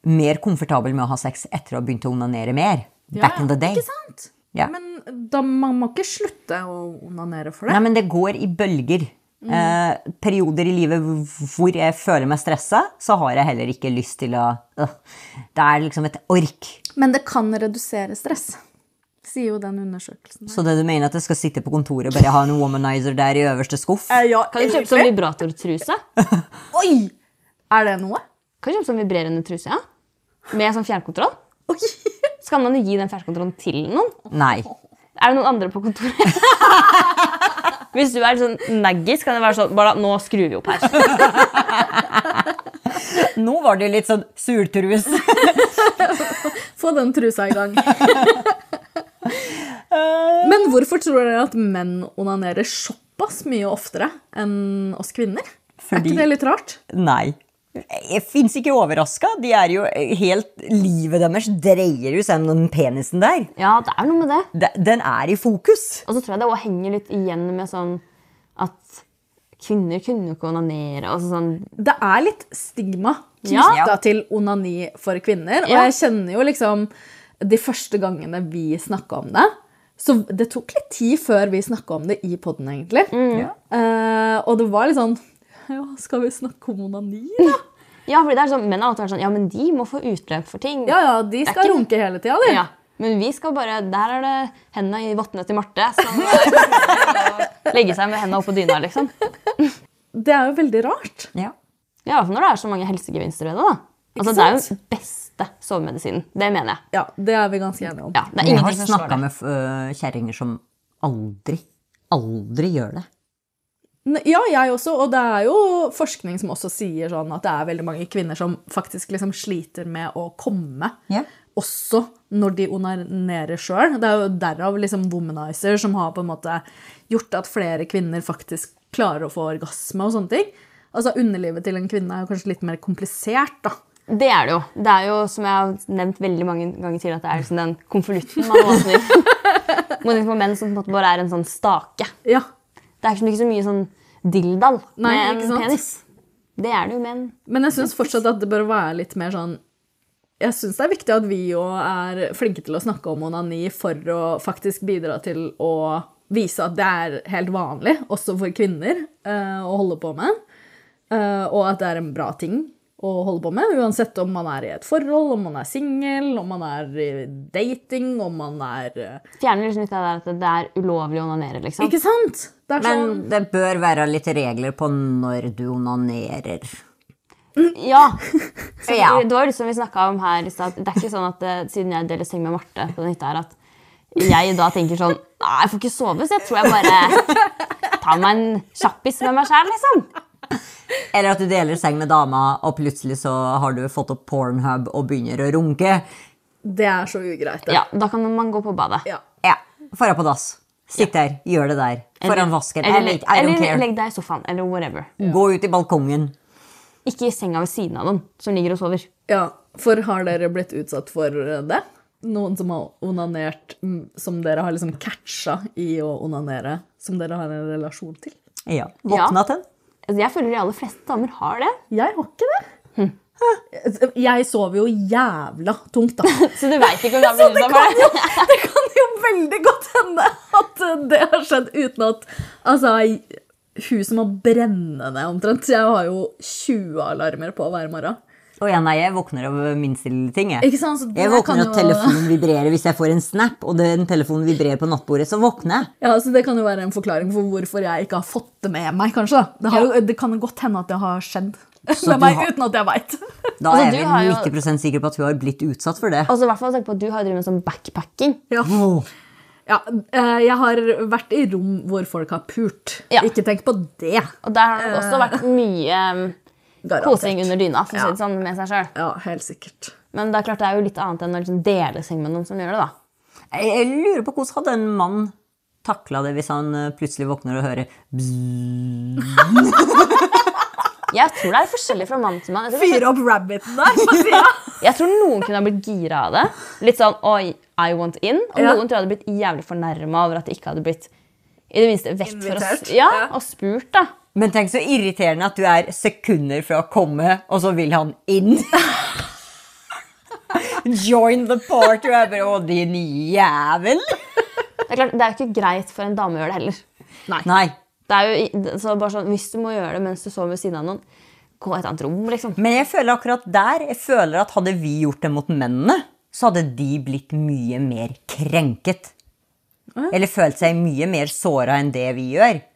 C: mer komfortabel med å ha sex etter å ha begynt å onanere mer. Back in the day.
B: Ikke sant?
C: Ja.
B: Men da, man må ikke slutte å onanere for det.
C: Nei, men det går i bølger. Eh, perioder i livet hv- hvor jeg føler meg stressa, så har jeg heller ikke lyst til å øh. Det er liksom et ork.
B: Men det kan redusere stress, sier jo den undersøkelsen.
C: Så det du mener at jeg skal sitte på kontoret og bare ha en womanizer der i øverste skuff?
B: Eh, ja,
D: Kan du kjøpe sånn vibratortruse?
B: Oi! Er det noe?
D: Kan du kjøpe sånn vibrerende truse, ja? Med sånn fjernkontroll?
B: Oi!
D: skal man jo gi den ferskkontrollen til noen.
C: Nei.
D: Er det noen andre på kontoret? Hvis du er litt sånn naggis, kan det være sånn bare, Nå skrur vi opp her.
C: Nå var det litt sånn surtrus.
B: Få den trusa i gang. Men hvorfor tror dere at menn onanerer såpass mye oftere enn oss kvinner? Er
C: Fordi-
B: ikke det litt rart?
C: Nei. Jeg fins ikke overraska. De er jo helt Livet deres dreier jo seg om den penisen der.
D: Ja, det er noe med det.
C: De- Den er i fokus.
D: Og så tror jeg det også henger litt igjen med sånn at kvinner kunne jo ikke onanere. Altså sånn,
B: det er litt stigma
D: Ja.
B: knytta til onani for kvinner.
D: Ja.
B: Og jeg kjenner jo liksom De første gangene vi snakka om det Så det tok litt tid før vi snakka om det i poden, egentlig. Eh, og det var litt sånn Ja, skal vi snakke om onani, da?
D: ja, fordi det er sånn, Menn har alltid vært sånn Ja, men de må få utløp for ting.
B: Ja ja, de
D: er
B: skal
D: ikke-
B: runke hele tida, de.
D: Ja. Men vi skal bare Der er det henda i vottene til Marte. Som eh, legge seg med henda oppå dyna, liksom.
B: Det er jo veldig rart.
C: Ja.
D: Ja, i hvert fall når det er så mange helsegevinster ved det. da. Altså,
B: Ikke
D: Det er jo
B: sant?
D: beste sovemedisinen. Det mener jeg.
B: Ja, Det er vi ganske enige om.
D: Ja, det er
C: Jeg har
D: ingenting som slår
C: snakka
D: det.
C: med øh, kjerringer som aldri, aldri gjør det.
B: N- Ja, jeg også, og det er jo forskning som også sier sånn at det er veldig mange kvinner som faktisk liksom sliter med å komme.
C: Ja.
B: Også når de onanerer sjøl. Det er jo derav liksom Womanizer som har på en måte gjort at flere kvinner faktisk klarer å få orgasme og sånne ting. Altså Underlivet til en kvinne er jo kanskje litt mer komplisert, da.
D: Det er det jo. Det er jo, som jeg har nevnt veldig mange ganger tidligere, at det er liksom den konvolutten man åpner. Mot liksom menn som på en måte bare er en sånn stake.
B: Ja,
D: Det er liksom ikke så mye sånn dilldall med
B: Nei, ikke
D: en
B: sant?
D: penis. Det er det jo med en
B: Men jeg syns fortsatt at det bør være litt mer sånn Jeg syns det er viktig at vi òg er flinke til å snakke om onani for å faktisk bidra til å vise at det er helt vanlig, også for kvinner, eh, å holde på med. Eh, og at det er en bra ting å holde på med, uansett om man er i et forhold, om man er singel, om man er i dating, om man er eh,
D: Fjerner liksom litt av det der at det er ulovlig å onanere, liksom.
B: Ikke sant? Det er sånn
C: Men det bør være litt regler på når du onanerer.
D: Ja. Så
C: Ja.
D: Det, det var jo liksom vi snakka om her i stad. Det er ikke sånn at eh, siden jeg deler seng med Marte på den hytta her, at jeg da tenker sånn Nei, jeg får ikke sove, så jeg tror jeg bare tar meg en kjappis med meg sjæl, liksom.
C: Eller at du deler seng med dama, og plutselig så har du fått opp pornhub og begynner å runke.
B: Det er så ugreit, det.
D: Ja, Da kan man gå på badet.
B: Ja.
C: Ja, dra på dass. Sitt der, gjør det der. Foran vasken.
D: Eller,
C: I like- I don't
D: eller
C: care.
D: legg deg i sofaen, eller whatever.
C: Gå ut i balkongen.
D: Ikke i senga ved siden av noen som ligger og sover.
B: Ja, for har dere blitt utsatt for det? Noen som har onanert, mm, som dere har liksom catcha i å onanere, som dere har en relasjon til?
C: Ja. Våkna til den.
D: Altså, Jeg føler de aller fleste damer har det.
B: Jeg har ikke det. Hæ? Jeg sover jo jævla tungt, da.
D: Så du veit ikke om det er blitt utsatt for det.
B: Det kan jo veldig godt hende at det har skjedd uten at Altså, huset må brenne ned omtrent. Jeg har jo 20 alarmer på hver morgen.
C: Å ja, nei, jeg våkner av minste lille ting. Jeg,
B: Ikke sant? Så det
C: jeg
B: kan
C: våkner av
B: jo-
C: at telefonen vibrerer hvis jeg får en snap, og den telefonen vibrerer på nattbordet, så våkner jeg.
B: Ja, så Det kan jo være en forklaring for hvorfor jeg ikke har fått det med meg. kanskje. da. Det, har, jo- det kan godt hende at det har skjedd
C: Så
B: med
C: du
B: meg
C: har-
B: uten at jeg veit.
C: Da
D: Altså, du har
C: er
D: jo-
C: vi 90 sikre på at hun har blitt utsatt for det.
D: Altså, i hvert fall tenk på at Du har drevet med sånn backpacking.
B: Ja.
C: Åh,
B: Ja, eh, jeg har vært i rom hvor folk har pult.
D: Ja.
B: Ikke tenk på det.
D: Og der har det også vært mye um, kosing under dyna for
B: Ja.
D: å si det sånn, med seg selv.
B: Ja, helt sikkert.
D: Men det er klart det er jo litt annet enn å liksom dele seng med noen som gjør det. da.
C: Jeg, jeg lurer på hvordan hadde en mann takla det hvis han eh, plutselig våkner og hører
D: Jeg tror det er forskjellig fra mann til mann. Jeg tror,
B: Fyre opp rabbiten der på sida!
D: jeg tror noen kunne ha blitt gira av det. Litt sånn oi, I want in. Og
B: Ja.
D: noen tror jeg hadde blitt jævlig fornærma over at det ikke hadde blitt i det minste vekt for oss.
B: Invitert.
D: Ja,
B: Ja.
D: og spurt, da.
C: Men tenk så irriterende at du er sekunder fra å komme, og så vil han inn. Join the party. Og jeg bare Å, din jævel!
D: Det er, klart, det er jo ikke greit for en dame å gjøre det heller.
C: Nei.
D: Det er jo, i- så bare sånn, Hvis du må gjøre det mens du sover ved siden av noen, gå i et annet rom, liksom.
C: Men jeg føler akkurat der jeg føler at hadde vi gjort det mot mennene, så hadde de blitt mye mer krenket. Eller følt seg mye mer såra enn det vi gjør.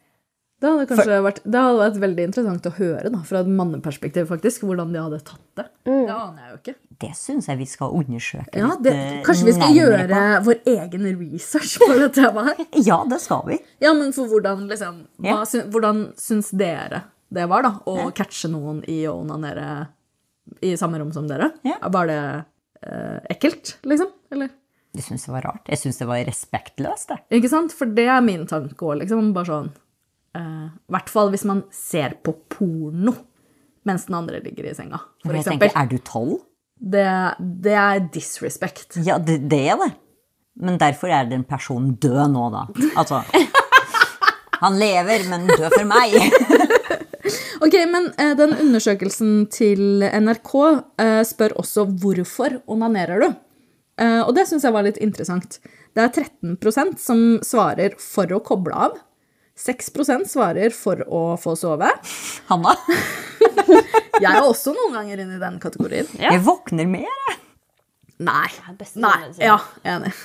B: Det hadde kanskje vært, det hadde vært veldig interessant å høre da, fra et manneperspektiv, faktisk, hvordan de hadde tatt det.
C: Mm.
B: Det aner jeg jo ikke.
C: Det syns jeg vi skal undersøke
B: Ja, det,
C: eh,
B: kanskje vi skal
C: nærmere
B: gjøre vår egen research på det temaet her?
C: på. Ja, det skal vi.
B: Ja, men for hvordan, liksom, hva,
C: Ja.
B: sy- hvordan syns dere det var, da? Å catche noen i å onanere i samme rom som dere?
C: Ja.
B: Var det eh, ekkelt, liksom? Eller?
C: Jeg syns det var rart. Jeg syns det var respektløst, det.
B: Ikke sant? For det er min tanke òg, liksom. Bare sånn eh, I hvert fall hvis man ser på porno mens den andre ligger i senga, for
C: jeg
B: eksempel.
C: tenker, er du tolv?
B: Det, det er disrespect.
C: Ja, det, det er det. Men derfor er den personen død nå, da. Altså Han lever, men død for meg.
B: Ok, men eh, den undersøkelsen til NRK eh, spør også hvorfor onanerer du? Eh, og det syns jeg var litt interessant. Det er 13 som svarer for å koble av. 6 svarer for å få sove.
C: Hanna.
B: Jeg er også noen ganger inne i den kategorien.
D: Ja.
C: Jeg våkner mer, jeg.
B: Nei.
D: er best å
B: Nei.
D: anmelde seg.
B: Ja, enig.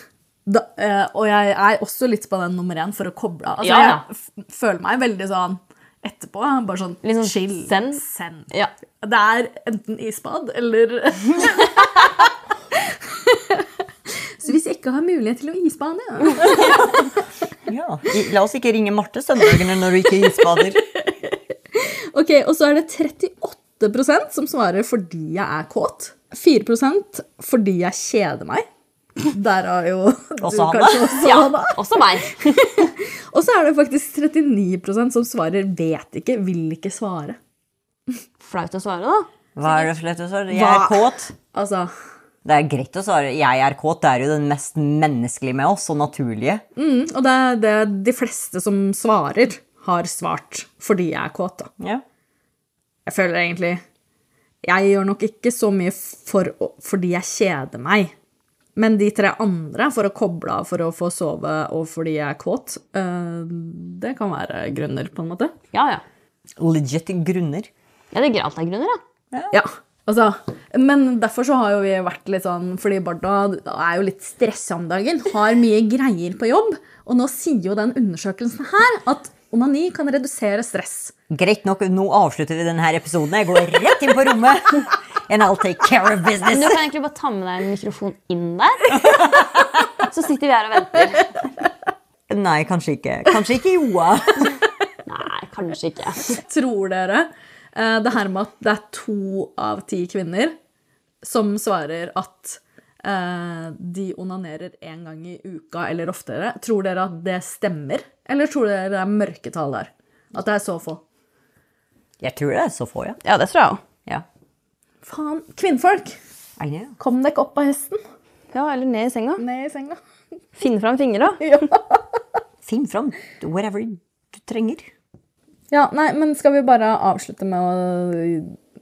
B: Da, eh, og jeg er også litt på den nummer én for å koble av. Altså,
D: Ja, ja.
B: Jeg f- føler meg veldig sånn etterpå. Bare sånn
D: Litt sånn
B: chill.
D: zen.
B: Zen.
D: Ja.
B: Det er enten isbad eller Så hvis jeg ikke har mulighet til å isbade ja.
C: Ja. I- La oss ikke ringe Marte søndagene når du ikke isbader.
B: Ok, Og så er det 38 som svarer fordi jeg er kåt. 4 fordi jeg kjeder meg. Der har jo du
C: Også Hanna.
B: kanskje også
D: Ja,
B: Hanna.
D: også meg.
B: Og så er det faktisk 39 som svarer 'vet ikke', 'vil ikke svare'.
D: Flaut å svare, da.
C: Hva er det for lett å svare? Jeg er
B: Hva?
C: kåt.
B: Altså,
C: Det er greit å svare 'jeg er kåt'. Det er jo den mest menneskelige med oss, og naturlige.
B: mm, Og det er det de fleste som svarer, har svart fordi jeg er kåt. da.
C: Ja.
B: Jeg føler egentlig Jeg gjør nok ikke så mye for, å- fordi jeg kjeder meg. Men de tre andre, for å koble av, for å få sove og fordi jeg er kåt, eh, det kan være grunner, på en måte.
D: Ja, ja.
C: Legit grunner.
D: Ja, Det er greit av grunner, da.
B: Ja, altså, men derfor så har jo vi vært litt sånn, fordi Barda er jo litt stressa om dagen, har mye greier på jobb, og nå sier jo den undersøkelsen her at onani kan redusere stress.
C: Greit nok, nå avslutter vi denne episoden. Jeg går rett inn på rommet. And I'll take care of
D: Men
C: business.
D: du kan egentlig bare ta med deg en mikrofon inn der. Så sitter vi her og venter.
C: Nei, kanskje ikke. Kanskje ikke Joa.
D: Nei, kanskje ikke.
B: Tror dere eh, det her med at det er to av ti kvinner som svarer at eh, de onanerer én gang i uka eller oftere, tror dere at det stemmer? Eller tror dere det er mørketall der? At det er så få?
C: Jeg tror det er så få, ja.
D: Ja, det tror jeg òg.
C: ja.
B: Faen, kvinnfolk!
C: I know.
B: Kom dere opp av hesten.
D: Ja, eller ned i senga.
B: Ned i senga.
D: Finne fram fingra.
C: Finn fram whatever du trenger.
B: Ja, nei, men skal vi bare avslutte med å eh,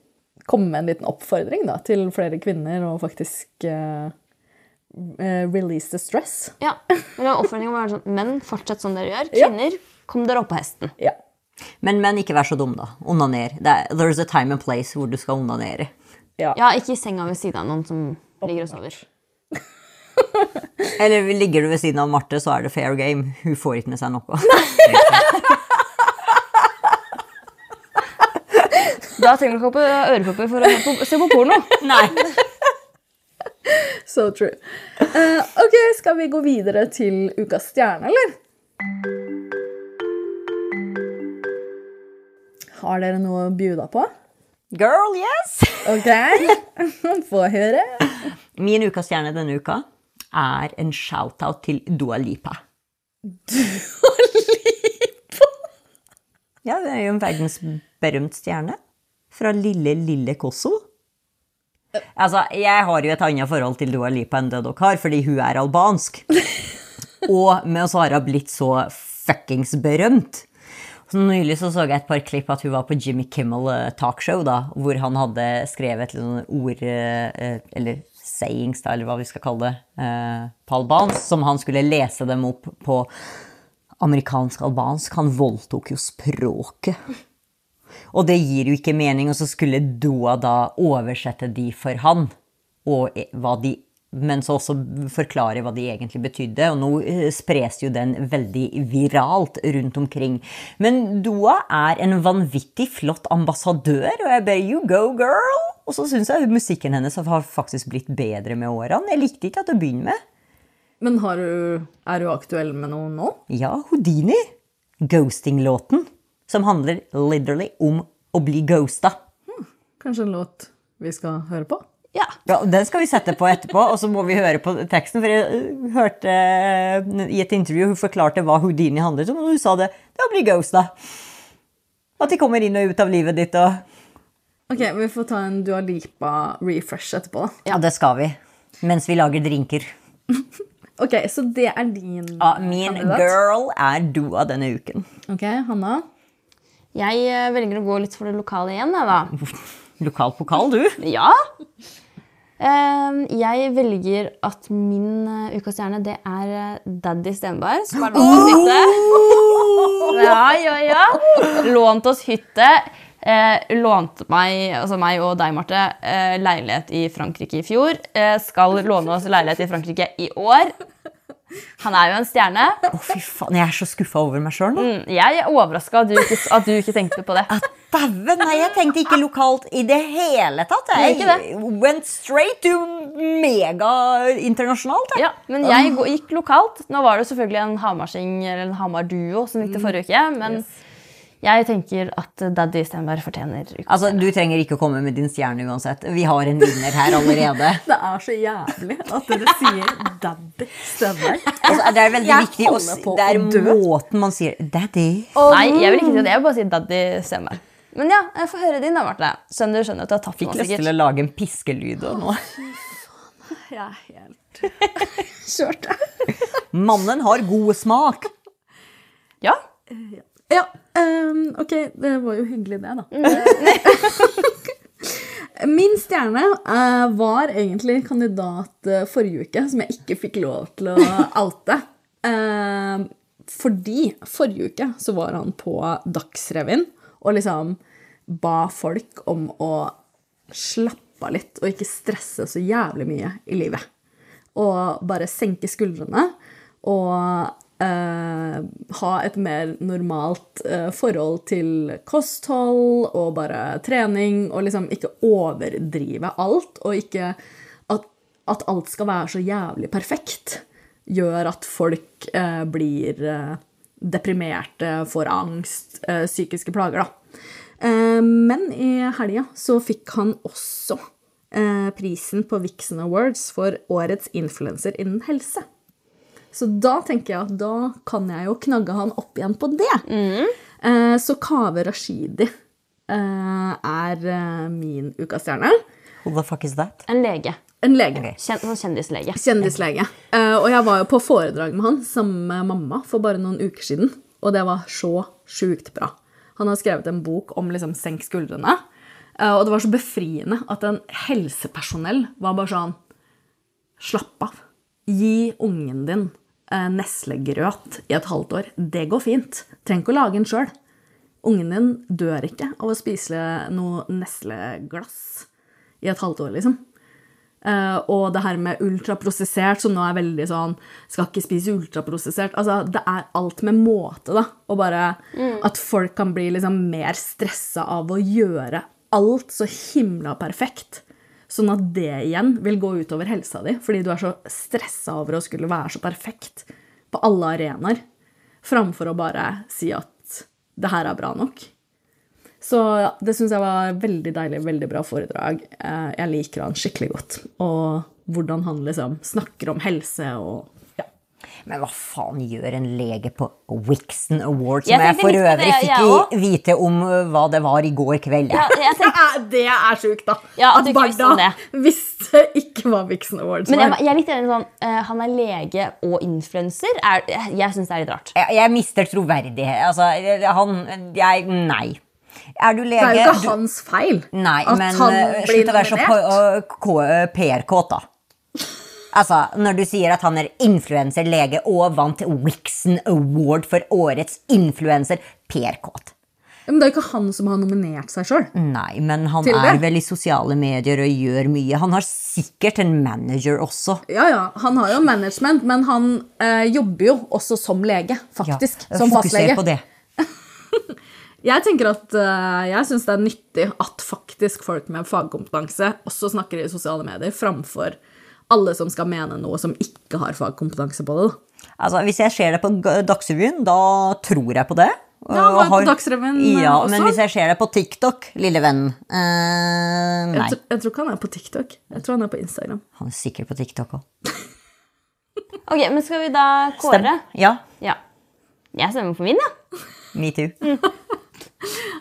B: komme med en liten oppfordring da, til flere kvinner og faktisk eh, eh, release the stress?
D: Ja. Men oppfordringen må være sånn Menn, fortsett som dere gjør. Kvinner, kom dere opp på hesten.
B: Ja.
C: Men, men ikke vær så dum, da. Onaner. Det er- There's a time and place hvor du skal onanere.
D: Ja, ikke i senga ved siden av noen som ligger og sover.
C: Eller ligger du ved siden av Marte, så er det fair game. Hun får ikke med seg noe.
D: Da trenger du ikke ha på ørepropper for å høre på- se på porno.
C: Nei.
B: So true. Eh, ok, skal vi gå videre til ukas stjerne, eller? Har dere noe å bjuda på?
C: Girl, yes!
B: Ok, få høre.
C: Min ukas stjerne denne uka er en shout-out til Dua Lipa. Ja, hun er jo en verdensberømt stjerne. Fra lille, lille Kosovo. Altså, jeg har jo et annet forhold til Dua Lipa enn det dere har, fordi hun er albansk. Og med oss har hun blitt så fuckings berømt. Så nylig så, så jeg et par klipp at hun var på Jimmy Kimmel eh, talkshow, da, hvor han hadde skrevet litt sånne ord eh, eh, Eller sayings, da, eller hva vi skal kalle det, eh, på albansk, som han skulle lese dem opp på amerikansk-albansk. Han voldtok jo språket. Og det gir jo ikke mening, og så skulle Doa da oversette de for han, og e- hva de men så også forklare hva de egentlig betydde. Og nå eh, spres jo den veldig viralt rundt omkring. Men Doa er en vanvittig flott ambassadør, og jeg bare You go, girl! Og så syns jeg musikken hennes har faktisk blitt bedre med årene. Jeg likte ikke at hun begynner med.
B: Men har du, er du aktuell med noe nå?
C: Ja, Houdini. Ghosting-låten. Som handler literally om å bli ghosta.
B: Kanskje en låt vi skal høre på?
D: Ja.
C: Ja, og Den skal vi sette på etterpå, og så må vi høre på teksten. For jeg øh, hørte øh, i et intervju hun forklarte hva Houdini handlet om, og hun sa det. Det å bli ghosta. At de kommer inn og ut av livet ditt og
B: Ok, Vi får ta en Dua Lipa-refresh etterpå. da.
C: Ja, det skal vi. Mens vi lager drinker.
B: Ok, Så det er din
C: Ja, min
B: kandidat.
C: girl er Dua denne uken.
B: Ok, Hanna?
D: Jeg eh, velger å gå litt for det lokale igjen, jeg, da.
C: Lokal pokal, du.
D: Ja! Ehm, jeg velger at min eh, ukas stjerne, det er eh, Daddy Stenberg. Som har lånt oss hytte. Ja, ja, ja. Lånt oss hytte. Eh, lånte meg, altså meg og deg, Marte, eh, leilighet i Frankrike i fjor. Eh, skal låne oss leilighet i Frankrike i år. Han er jo en stjerne.
C: Å, fy faen, jeg er så skuffa over meg sjøl nå.
D: Mm, Jeg er overraska at, du ikke- at du ikke tenkte på det.
C: Dæven, nei, jeg tenkte ikke lokalt i det hele tatt.
D: Nei, ikke
C: Jeg went straight to mega-internasjonalt. jeg.
D: Ja, men jeg gå- gikk lokalt. Nå var det selvfølgelig en Hamarsing eller en Hamar-duo som gikk til forrige uke, men jeg tenker at Daddy Stenberg fortjener uka.
C: Altså, Du trenger ikke å komme med din stjerne uansett. Vi har en vinner her allerede.
B: Det er så jævlig at dere sier daddy Stenberg.
C: Altså, det er veldig
B: Jeg
C: viktig å
B: holder
C: s-
B: på
C: Det er
B: å dø.
C: måten man sier 'daddy'.
D: Nei, jeg vil ikke si det. Jeg vil bare si Daddy Stenberg. Men ja, jeg får høre din da, Marte. Skjønner du skjønner at du har tatt
C: Fikk lyst
D: den
C: til å
D: sikkert.
C: lage en piskelyd og noe.
B: Jeg er helt kjørt.
C: Mannen har god smak.
D: Ja.
B: Ja, ehm, ok, det var jo hyggelig det, da. Min stjerne eh, var egentlig kandidat eh, forrige uke, som jeg ikke fikk lov til å oute. Eh, fordi forrige uke så var han på Dagsrevyen og liksom ba folk om å slappe av litt og ikke stresse så jævlig mye i livet. Og bare senke skuldrene og eh, ha et mer normalt eh, forhold til kosthold og bare trening, og liksom ikke overdrive alt, og ikke at, at alt skal være så jævlig perfekt, gjør at folk eh, blir eh, deprimerte, får angst, eh, psykiske plager, da. Eh, men i helga så fikk han også eh, prisen på Vixen Awards for årets influenser innen helse. Så da tenker jeg at da kan jeg jo knagge han opp igjen på det. Eh, så Kaveh Rashidi eh, er eh, min ukas stjerne.
C: Who the fuck is that?
D: En lege.
B: En lege.
D: Kjen, sånn kjendislege.
B: Kjendislege. Eh, og jeg var jo på foredrag med han sammen med mamma for bare noen uker siden, og det var så sjukt bra. Han har skrevet en bok om liksom senk skuldrene, eh, og det var så befriende at en helsepersonell var bare sånn Slapp av. Gi ungen din eh, neslegrøt i et halvt år. Det går fint. Trenger ikke å lage en sjøl. Ungen din dør ikke av å spise noe nesleglass i et halvt år, liksom. Eh, og det her med ultraprosessert, som nå er veldig sånn Skal ikke spise ultraprosessert. Altså, det er alt med måte, da. Og bare at folk kan bli liksom mer stressa av å gjøre alt så himla perfekt. Sånn at det igjen vil gå utover helsa di, fordi du er så stressa over å skulle være så perfekt på alle arenaer. Framfor å bare si at det her er bra nok. Så ja, det syns jeg var veldig deilig, veldig bra foredrag. Eh, Jeg liker han skikkelig godt. Og hvordan han liksom snakker om helse og ja.
C: Men hva faen gjør en lege på Wixen Awards,
D: Jeg
C: som jeg
D: tenkte
C: for
D: litt på
C: øvrig
D: det, jeg
C: fikk i- vite om øh, hva det var i går kveld?
D: Ja, jeg tenkte,
B: Eh, Det er sjukt, da!
D: Ja, at du ikke visste om det.
B: visste ikke hva Vixen Awards
D: men jeg,
B: var.
D: var- jeg er litt enig sånn eh, Han er lege og influenser. Er- Jeg, jeg syns det er litt rart.
C: Jeg, jeg mister troverdighet. Altså, han Jeg Nei. Er du lege?
B: Det er jo
C: Du-
B: ikke hans feil
C: Nei,
B: at
C: men
B: han
C: eh,
B: blir
C: slutt å være så
B: nominert.
C: på- å, k- eh, PR-kåt, da. Altså, Når du sier at han er influenser, lege og vant Wixen Award for årets influenser, PR-kåt.
B: Men det er jo ikke han som har nominert seg sjøl.
C: Nei, men han
B: Til
C: er
B: det?
C: vel i sosiale medier og gjør mye. Han har sikkert en manager også.
B: Ja, ja, han har jo management, men han eh, jobber jo også som lege, faktisk. som
C: eh, fokuser
B: fastlege.
C: på det.
B: Jeg tenker at eh, jeg syns det er nyttig at faktisk folk med fagkompetanse også snakker i sosiale medier, framfor alle som skal mene noe som ikke har fagkompetanse på det. da.
C: Altså, hvis jeg ser det på G- Dagsrevyen, da tror jeg på det.
B: Ja,
C: Og
B: var det på Dagsrevyen, eh,
C: ja,
B: også?
C: Men hvis jeg ser det på TikTok, lille venn eh, Nei,
B: Jeg, tr jeg tror ikke han er på TikTok. Jeg tror han er på Instagram.
C: han er sikkert på TikTok òg.
D: Ok, men skal vi da kåre?
C: Ja,
D: Ja. Jeg stemmer på min, ja.
C: metoo.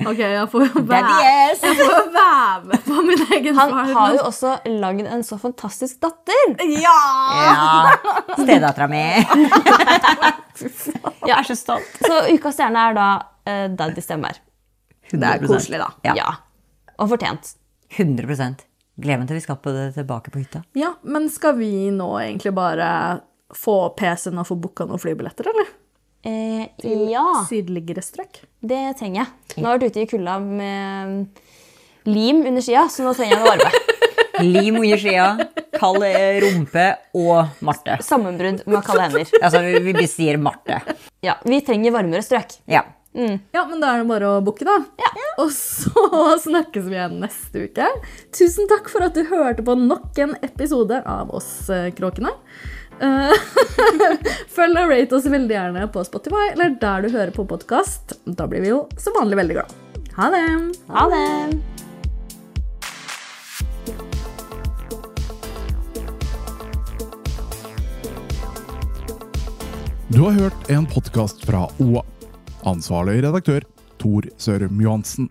B: Ok, jeg får
C: Daddy
B: være,
C: yes!
B: jeg får være med på min egen
D: Han
B: far.
D: har jo også lagd en så fantastisk datter.
C: Ja, stedattera mi.
D: Jeg er så stolt. Så Ukas stjerne er da eh, Daddy Stemmer.
C: Det er
B: koselig, da.
C: Ja,
D: Og fortjent.
C: 100 Gleder meg til vi skal på det tilbake på hytta.
B: Ja, men skal vi nå egentlig bare få PC-en og få booka noen flybilletter, eller?
D: Eh, ja,
B: Sydligere strøk.
D: det trenger jeg. Nå har jeg vært ute i kulda med lim under skia, så nå trenger jeg noe varme.
C: Lim under skia, kald eh, rumpe og Marte.
D: Sammenbrudd med kalde hender.
C: Altså, vi, vi bestier Marte.
D: Ja, Vi trenger varmere strøk.
C: Ja.
B: Ja, men da er det bare å booke, da. Og så snakkes vi igjen neste uke. Tusen takk for at du hørte på nok en episode av oss eh, kråkene. Eh, Følg og rate oss veldig gjerne på Spotify eller der du hører på podkast. Da blir vi jo som vanlig veldig glad. Ha det!
D: Ha det!
A: Du har hørt en podkast fra OA. Ansvarlig redaktør Tor Sørum Johansen.